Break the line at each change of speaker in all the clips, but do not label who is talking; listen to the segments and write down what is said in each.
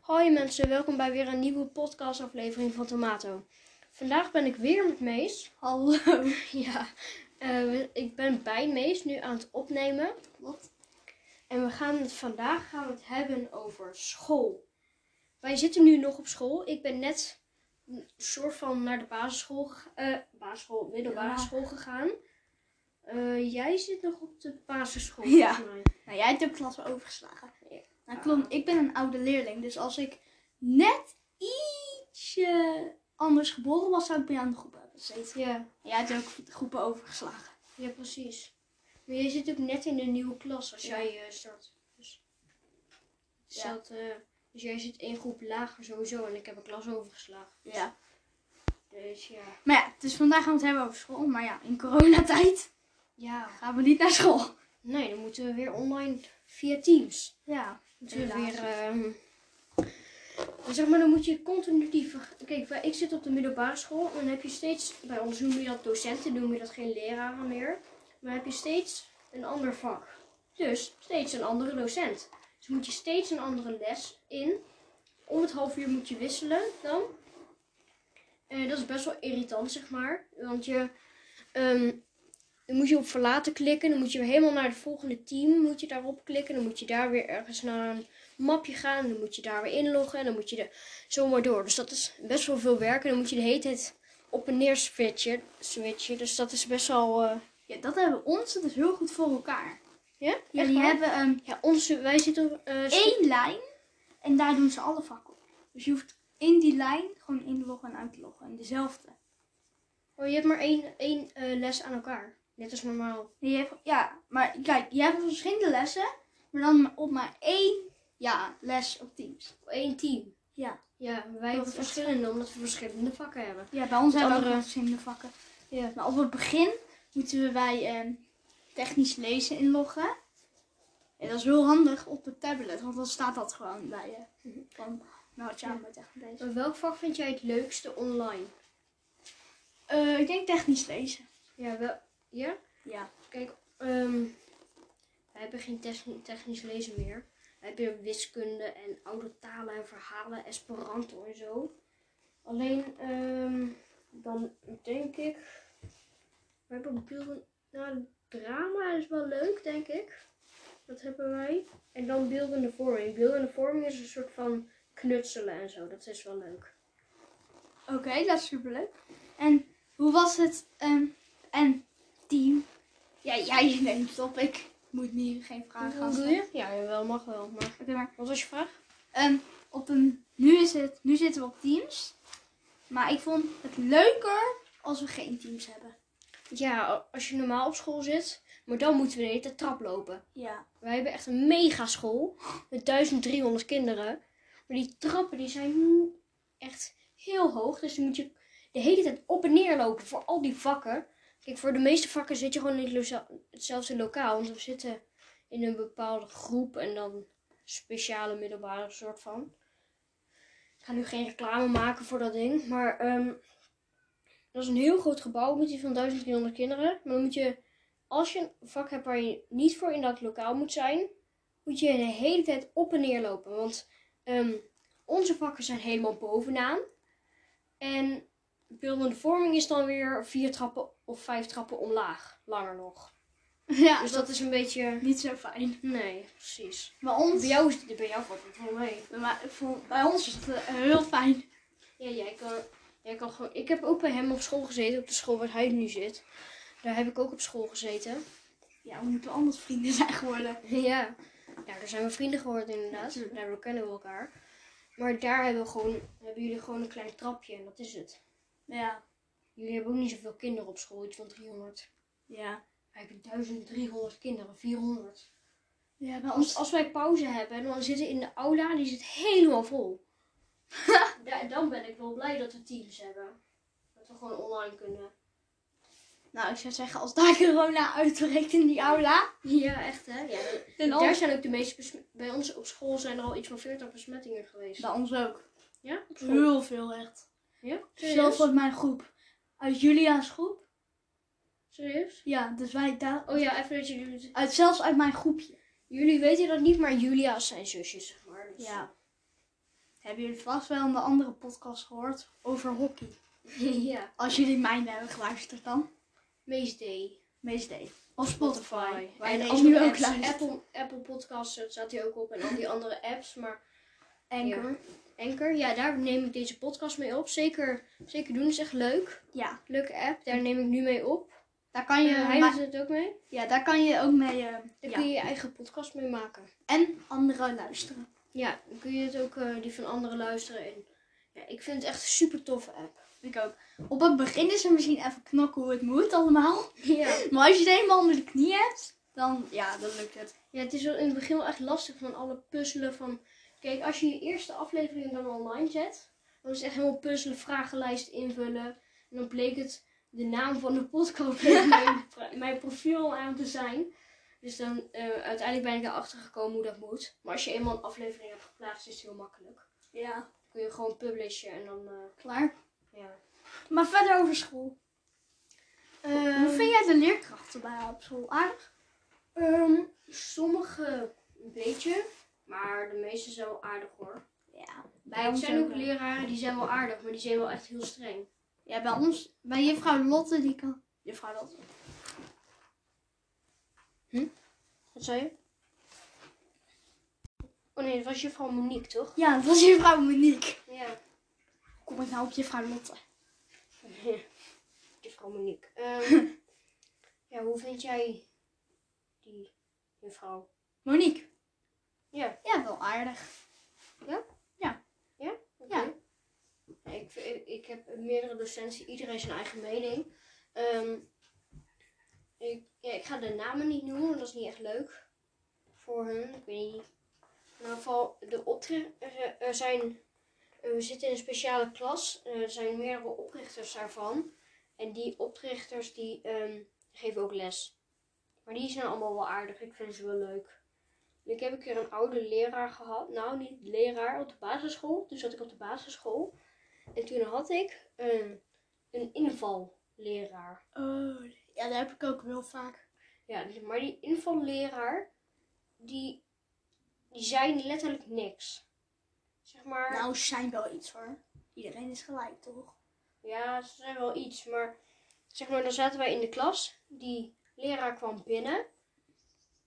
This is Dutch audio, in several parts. Hoi mensen, welkom bij weer een nieuwe podcastaflevering van Tomato. Vandaag ben ik weer met Mees.
Hallo.
ja, eh, ik ben bij Mees nu aan het opnemen.
Klopt.
En we gaan het vandaag gaan we het hebben over school. Wij zitten nu nog op school. Ik ben net een soort van naar de basisschool, geg- eh, basisschool middelbare
Ja.
school gegaan. Eh, jij zit nog op de basisschool,
Ja.
volgens mij.
Nou, jij hebt de klas overgeslagen.
Ja.
Nou, klopt. Ik ben een oude leerling, dus als ik net ietsje anders geboren was, zou ik bij jou aan de groep hebben gezeten.
Ja,
Jij hebt ook de groepen overgeslagen.
ja, precies. Maar jij zit ook net in een nieuwe klas als
Ja.
jij eh start. Dus, dus,
Ja.
dat, eh, dus jij zit één groep lager sowieso en ik heb een klas overgeslagen.
Ja.
Dus ja.
Maar ja, dus vandaag gaan we het hebben over school. Maar ja, in coronatijd
Ja.
gaan we niet naar school.
Nee, dan moeten we weer online via Teams.
Ja.
Moeten we
helaas.
weer. ehm, zeg maar, dan moet je continu die. ver- Kijk, wij- ik zit op de middelbare school. En dan heb je steeds. Bij ons noemen je dat docenten, noem je dat geen leraren meer. Maar heb je steeds een ander vak. Dus steeds een andere docent. Dus moet je steeds een andere les in. Om het half uur moet je wisselen dan. Eh, dat is best wel irritant, zeg maar. Want je. ehm, dan moet je op verlaten klikken. Dan moet je weer helemaal naar het volgende team. Moet je daarop klikken. Dan moet je daar weer ergens naar een mapje gaan. Dan moet je daar weer inloggen. En dan moet je de, zomaar door. Dus dat is best wel veel werk. En dan moet je de hele tijd op en neer switchen. switchen. Dus dat is best wel... eh,
Ja, dat hebben onze dus heel goed voor elkaar.
ja,
Ja,
echt
die
waar?
hebben een
Ja, onze, wij zitten op... eh, sp-
één lijn en daar doen ze alle vakken op. Dus je hoeft in die lijn gewoon inloggen en uitloggen. En dezelfde.
oh, je hebt maar één, één eh, les aan elkaar. Net als normaal.
Nee, je hebt- ja, maar kijk, je hebt verschillende lessen, maar dan op maar één ja, les op teams.
Eén team.
Ja,
Ja, wij
Dat
hebben
is echt-
verschillende, omdat we verschillende vakken hebben.
ja bij ons
Het
hebben we ook
andere-
nog verschillende vakken.
Ja.
Maar op het begin moeten we bij ehm, technisch lezen inloggen. En dat is heel handig op het tablet, want dan staat dat gewoon bij je. Van, nou, tja,
Ja.
maar technisch lezen.
En welk vak vind jij het leukste online?
Eh, ik denk technisch lezen.
Ja, wel... Ja?
Ja.
Kijk, ehm we hebben geen techni- technisch lezen meer. We hebben wiskunde en oude talen en verhalen, Esperanto en zo. Alleen, ehm, dan denk ik. We hebben beelden. Nou, drama is wel leuk, denk ik. Dat hebben wij. En dan beeldende vorming. Beeldende vorming is een soort van knutselen en zo. Dat is wel leuk.
Oké, dat is superleuk. En hoe was het? ehm, en team? Ja, jij neemt het op. Ik moet nu geen
Ah,
vragen gaan stellen.
Ja, wel mag wel. Maar
Oké, maar
wat was je vraag?
ehm, op een, nu, is het, nu zitten we op teams. Maar ik vond het leuker als we geen teams hebben.
Ja, als je normaal op school zit, maar dan moeten we de hele tijd trap lopen.
Ja.
Wij hebben echt een megaschool met 1300 kinderen. Maar die trappen die zijn echt heel hoog. Dus dan moet je de hele tijd op en neer lopen voor al die vakken. Kijk, voor de meeste vakken zit je gewoon in het loza- hetzelfde lokaal. Want we zitten in een bepaalde groep en dan speciale middelbare soort van. Ik ga nu geen reclame maken voor dat ding. Maar ehm, dat is een heel groot gebouw met die van 1300 kinderen. Maar dan moet je als je een vak hebt waar je niet voor in dat lokaal moet zijn, moet je de hele tijd op en neer lopen. Want ehm, onze vakken zijn helemaal bovenaan. En beeldende vorming is dan weer vier trappen of vijf trappen omlaag. Langer nog.
Ja,
dus dat is een beetje.
niet zo fijn.
Nee, precies.
Bij
Bij
ons,
jou is het bij jou valt het wel mee.
maar ik vond- bij ons is het eh, heel fijn.
Ja, jij kan, jij kan gewoon. Ik heb ook bij hem op school gezeten, op de school waar hij nu zit. Daar heb ik ook op school gezeten.
Ja, we moeten anders vrienden zijn geworden.
Ja. ja, daar zijn we vrienden geworden inderdaad.
Ja, tuurlijk.
Daardoor kennen we elkaar. Maar daar hebben, we gewoon, hebben jullie gewoon een klein trapje en dat is het.
Ja.
Jullie hebben ook niet zoveel kinderen op school, iets van 300.
Ja.
Wij hebben 1300 kinderen, 400.
Ja, bij
Als,
ons.
als wij pauze hebben, dan zitten in de aula, die zit helemaal vol. Da- dan ben ik wel blij dat we teams hebben. Dat we gewoon online kunnen.
Nou, ik zou zeggen, als daar corona uitbreekt in die aula.
Ja, echt hè? Ja,
dan-
daar zijn ook de meeste besmet- Bij ons op school zijn er al iets van 40 besmettingen geweest.
Bij ons ook.
Nou, Ja? Op school?
Heel veel echt.
Ja?
Zelfs uit mijn groep. Uit Julia's groep.
Serieus?
Ja, dus wij daar.
Oh ja, even dat jullie...
Uit, zelfs uit mijn groepje.
Jullie weten dat niet, maar Julia zijn zusjes, zeg maar. Dus
Ja. hebben jullie vast wel in de andere podcast gehoord over hockey.
ja.
Als jullie mijn hebben geluisterd dan.
Meest day.
Meestal. Of Spotify. Waar
en
je deze
andere
nu ook
apps.
luistert.
Apple, Apple Podcasts eh, staat hij ook op en al die andere apps. Maar
Anchor.
Anchor, ja, daar neem ik deze podcast mee op. Zeker, zeker doen, is echt leuk.
Ja,
Leuke app, daar neem ik nu mee op.
daar kan je,
En Eh, hij
ma-
doet het ook mee.
ja, daar kan je ook mee. eh,
Daar
ja.
kun je je eigen podcast mee maken.
En anderen luisteren.
Ja, dan kun je het ook eh, die van anderen luisteren. En, ja, ik vind het echt een super toffe app.
Ik ook. Op het begin is er misschien even knokken hoe het moet allemaal.
Ja.
Maar als je het eenmaal onder de knie hebt, dan ja, dan lukt het.
ja, het is wel in het begin wel echt lastig van alle puzzelen. Van, kijk, als je je eerste aflevering dan online zet, dan is het echt helemaal puzzelen, vragenlijst invullen. En dan bleek het de naam van de podcast en mijn, pro- mijn profiel aan te zijn. Dus dan eh, uiteindelijk ben ik erachter gekomen hoe dat moet. Maar als je eenmaal een aflevering hebt geplaatst, is het heel makkelijk.
Ja,
Kun je gewoon publishen en dan, eh,
klaar.
ja.
Maar verder over school. Hoe vind jij de leerkrachten bij op school? Aardig?
Ehm, sommige een beetje, maar de meeste zijn wel aardig hoor.
Ja.
Bij ons zijn ook eh, leraren die zijn wel aardig, maar die zijn wel echt heel streng.
Ja, bij ons, bij juffrouw Lotte, die kan... Juffrouw Lotte.
Hm? Wat zei je? Oh nee, dat was juffrouw Monique toch?
Ja, dat was juffrouw Monique.
Ja.
Hoe kom ik nou op juffrouw Lotte?
juffrouw Monique. Ehm, ja, hoe vind jij die juffrouw?
Monique.
Ja.
Ja, wel aardig.
Oké. Ja, Ik, vind- ik heb meerdere docenten, iedereen zijn eigen mening. Ehm, ik, ja, ik ga de namen niet noemen, want dat is niet echt leuk voor hun. Ik weet niet. In ieder geval, de optre- er, er zijn, eh, we zitten in een speciale klas. Eh, Er zijn meerdere oprichters daarvan. En die oprichters die ehm, geven ook les. Maar die zijn allemaal wel aardig. Ik vind ze wel leuk. Ik heb een keer een oude leraar gehad. Nou, niet leraar, op de basisschool. Toen zat ik op de basisschool. En toen had ik een, een invalleraar.
Oh, ja, dat heb ik ook wel vaak.
Ja, dus- maar die invalleraar, die, die zei letterlijk niks. Zeg maar,
Nou, ze zijn wel iets hoor. Iedereen is gelijk, toch?
ja, ze zei wel iets, maar zeg maar, dan zaten wij in de klas. Die leraar kwam binnen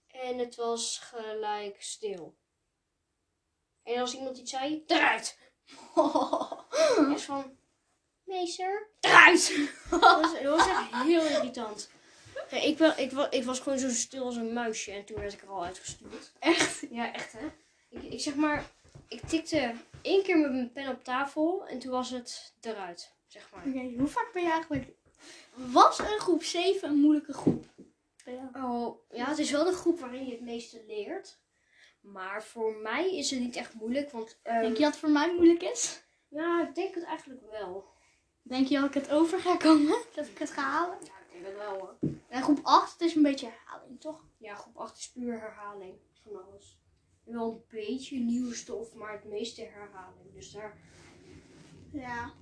en het was gelijk stil. En als iemand iets zei, eruit! Echt van, meester, eruit! dat, was, dat was echt heel irritant. Ja, ik, wel, ik, wa- ik was gewoon zo stil als een muisje en toen werd ik er al uitgestuurd.
Echt?
Ja, echt hè? Ik, ik zeg maar, ik tikte één keer met mijn pen op tafel en toen was het eruit, zeg maar.
Oké, hoe vaak ben je eigenlijk... Was een groep 7 een moeilijke groep?
Oh, ja, het is wel de groep waarin je het meeste leert. Maar voor mij is het niet echt moeilijk, want... ehm,
Denk je dat het voor mij moeilijk is?
Ja, ik denk het eigenlijk wel.
Denk je dat ik het over ga komen? Dat ik het ga halen?
Ja, ik denk het wel hoor.
En groep 8 is een beetje herhaling, toch?
Ja, groep 8 is puur herhaling van alles. Wel een beetje nieuwe stof, maar het meeste herhaling. Dus daar,
Ja.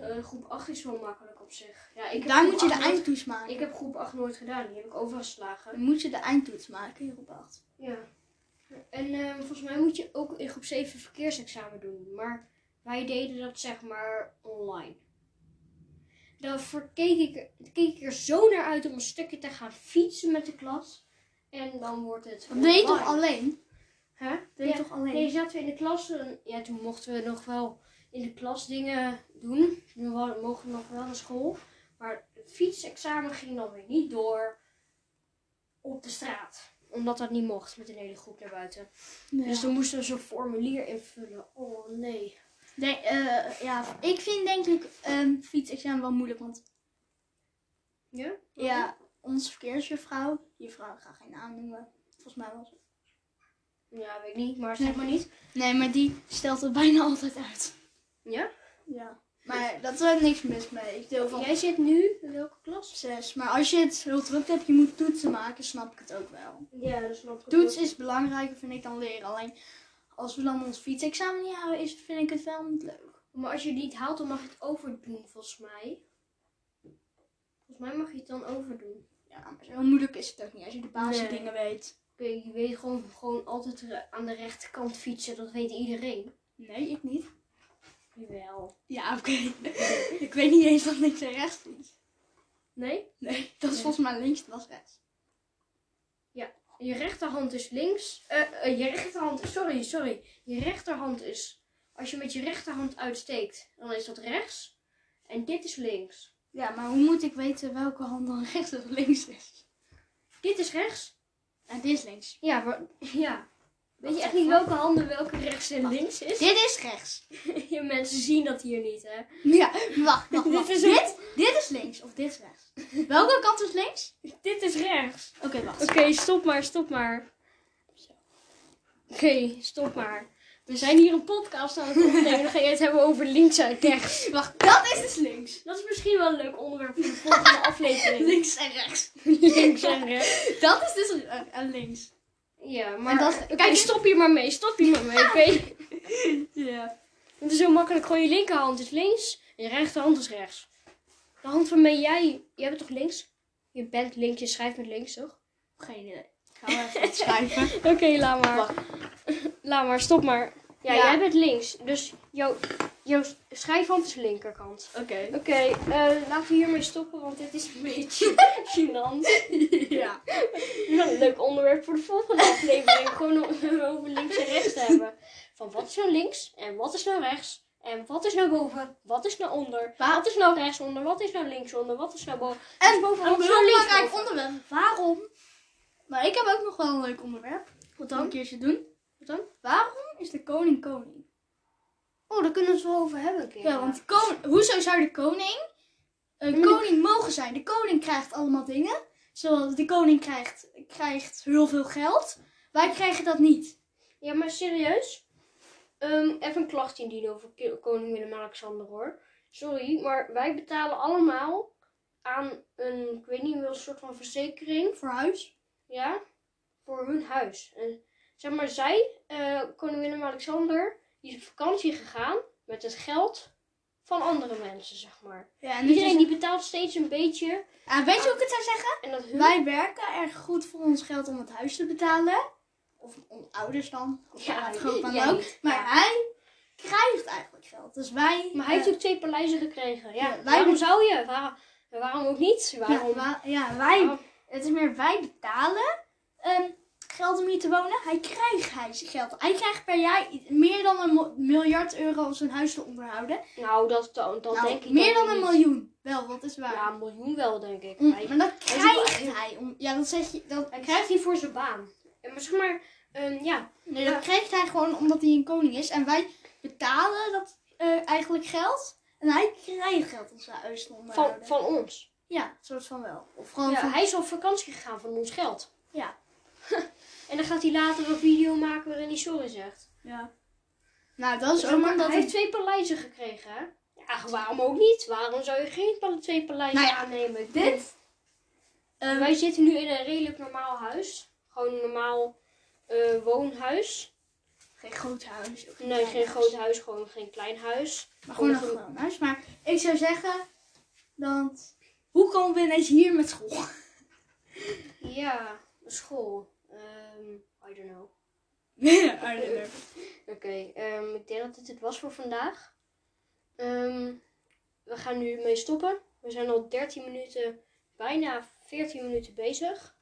eh, groep 8 is wel makkelijk op zich. Ja, ik heb
Daar
groep
moet je de
acht nooit-
eindtoets maken.
Ik heb groep 8 nooit gedaan, die heb ik overgeslagen.
Dan moet je de eindtoets maken in groep 8.
Ja. En eh, volgens mij moet je ook in groep 7 verkeersexamen doen. Maar wij deden dat zeg maar online. Daarvoor keek ik, er- keek ik er zo naar uit om een stukje te gaan fietsen met de klas. En dan wordt het.
Dat deed je toch
online.
alleen?
Hè?
deed je
Ja.
toch alleen?
Nee, zaten we in de klas. en- Ja, toen mochten we nog wel in de klas dingen doen. Nu wa- mogen we nog wel naar school. Maar het fietsexamen ging dan weer niet door op de straat. Omdat dat niet mocht met een hele groep naar buiten.
Ja.
Dus dan moesten we zo'n formulier invullen. Oh nee.
Nee, eh, ja, ik vind denk ik ehm fietsexamen wel moeilijk, want
Ja?
ja, onze verkeersjuffrouw, juffrouw, ik ga geen naam noemen, volgens mij was het.
Ja, weet ik niet, maar zeg maar niet.
Nee, maar die stelt het bijna altijd uit.
Ja?
Ja. Maar dat is er niks mis mee. Ik deel van
Jij zit nu in welke klas?
zes. Maar als je het heel druk hebt, je moet toetsen maken, snap ik het ook wel.
Ja, dat snap ik.
Toets is belangrijker, vind ik, dan leren. Alleen, als we dan ons fietsexamen niet houden, is, vind ik het wel niet leuk.
Maar als je het niet haalt, dan mag je het overdoen, volgens mij. Volgens mij mag je het dan overdoen.
Ja, maar zo moeilijk is het ook niet, als je de basisdingen
Nee.
weet.
Oké, je weet gewoon, gewoon altijd re- aan de rechterkant fietsen, dat weet iedereen.
Nee, ik niet.
Jawel.
Ja, oké. ik weet niet eens wat links en rechts is.
Nee?
Nee, dat is
Nee.
volgens mij links, dat is rechts.
Je rechterhand is links. eh, eh, je rechterhand, sorry, sorry. Je rechterhand is, als je met je rechterhand uitsteekt, dan is dat rechts. En dit is links.
Ja, maar hoe moet ik weten welke hand dan rechts of links is?
Dit is rechts.
En dit is links.
Ja, wa- ja. Weet je
Wacht
echt niet
even.
welke handen welke rechts en
Wacht.
links is?
Dit is rechts.
Je mensen zien dat hier niet, hè?
Ja, wacht, wacht,
Dit
wacht.
is
Dit,
een-
dit, is links of dit is rechts. welke kant is links?
Dit is rechts.
Oké, wacht.
Oké, stop maar, stop maar. Oké, stop maar. We zijn hier een podcast aan het opnemen. Dan ga je het hebben over links en rechts.
Wacht, dat is dus links.
Dat is misschien wel een leuk onderwerp voor de volgende aflevering.
Links en rechts.
links en rechts.
Dat is dus eh, eh, links.
Ja,
En
maar...
dat-
Oké,
kijk,
stop hier maar mee. Stop hier maar mee. Ik weet-
Ja.
Het is heel makkelijk. Gewoon je linkerhand is links en je rechterhand is rechts. De hand waarmee jij... Jij bent toch links? Je bent links. Je schrijft met links, toch?
Geen idee. Ik ga wel even wat schrijven.
Oké, laat maar.
Wacht.
Laat maar, stop maar. Ja,
Ja.
jij bent links, dus jouw, jouw schrijfhand is linkerkant.
Oké.
Oké, eh, laten we hiermee stoppen, want dit is een beetje gênant.
Ja.
Nou, een leuk onderwerp voor de volgende aflevering. Gewoon om het over links en rechts te hebben. Van wat is nou links en wat is nou rechts? En wat is nou boven? Wat is nou onder?
Waar-
Wat is nou rechtsonder? Wat is nou linksonder? Wat is nou boven?
En
Wat is boven?
een
Wat is nou
belangrijk
linksboven?
onderwerp. Waarom? Maar ik heb ook nog wel een leuk onderwerp.
Wat
Dan een
dan?
keertje doen.
Wat dan?
Waarom is de koning koning?
Oh, daar kunnen we het wel over hebben. een keer.
Ja, want de koning, hoezo zou de koning een
Hmm.
koning mogen zijn? De koning krijgt allemaal dingen. Zoals de koning krijgt, krijgt heel veel geld. Wij krijgen dat niet.
Ja, maar serieus? Ehm, even een klacht indienen over ki- koning Willem-Alexander hoor. Sorry, maar wij betalen allemaal aan een, ik weet niet wel, soort van verzekering.
Voor huis?
Ja, voor hun huis. En zeg maar, zij, eh, koning Willem-Alexander, die is op vakantie gegaan met het geld van andere mensen, zeg maar.
Ja, en
Iedereen
iedereen Ah,
die betaalt steeds een beetje.
weet je hoe ik het zou zeggen?
En dat hun...
Wij werken erg goed voor ons geld om het huis te betalen. Of om ouders dan. Of
Ja,
ja, groot dan
jij
ook.
niet.
Maar
Ja.
hij krijgt eigenlijk geld. Dus wij...
Maar hij heeft
eh,
ook twee paleizen gekregen. Ja,
Ja, wij-
waarom zou je? Waar- Waarom ook niet? Waarom?
Ja, wa- ja, wij...
waarom-
Het is meer wij betalen ehm, geld om hier te wonen. Hij krijgt hij zijn geld. Hij krijgt per jaar i- meer dan een mo- miljard euro om zijn huis te onderhouden.
Nou, dat, dat, dat
Nou,
denk ik
meer
ook
dan een
niet.
miljoen. Wel, dat is waar.
Ja, een miljoen wel, denk ik.
Mm,
Hij,
maar dat
hij is ook-
krijgt hij. Om, ja, dat zeg je. Dat,
hij krijgt hier voor zijn baan. En maar zeg maar, ehm, ja.
nee, dat krijgt hij gewoon omdat hij een koning is. En wij betalen dat eh, eigenlijk geld. En hij krijgt geld om zijn huis te
van,
onderhouden.
eh, van ons.
Ja, soort van wel. Of gewoon
Ja,
van...
hij is op vakantie gegaan van ons geld.
Ja.
en dan gaat hij later een video maken waarin hij sorry zegt.
ja. Nou, dat is
Zeg
ook
maar,
omdat
hij heeft twee paleizen gekregen, hè? Ja, waarom ook niet? Waarom zou je geen pal- twee paleizen
Nou ja,
aannemen? Ik bedoel,
Dit. ehm,
Eh, Wij zitten nu in een redelijk normaal huis. Gewoon een normaal eh, woonhuis.
geen groot huis. ook
Nee,
klein
geen groot huis, gewoon geen klein huis.
Maar gewoon een
Of een-
gewoon huis. Maar ik zou zeggen, want hoe komen we ineens hier met school?
Ja, school. Ehm I don't know.
Ja,
Oké, ehm, ik denk dat dit het was voor vandaag. Ehm, we gaan nu mee stoppen. We zijn al 13 minuten, bijna 14 minuten bezig.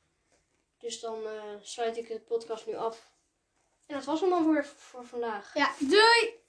Dus dan eh, sluit ik de podcast nu af. En dat was hem dan voor, voor vandaag.
ja, doei!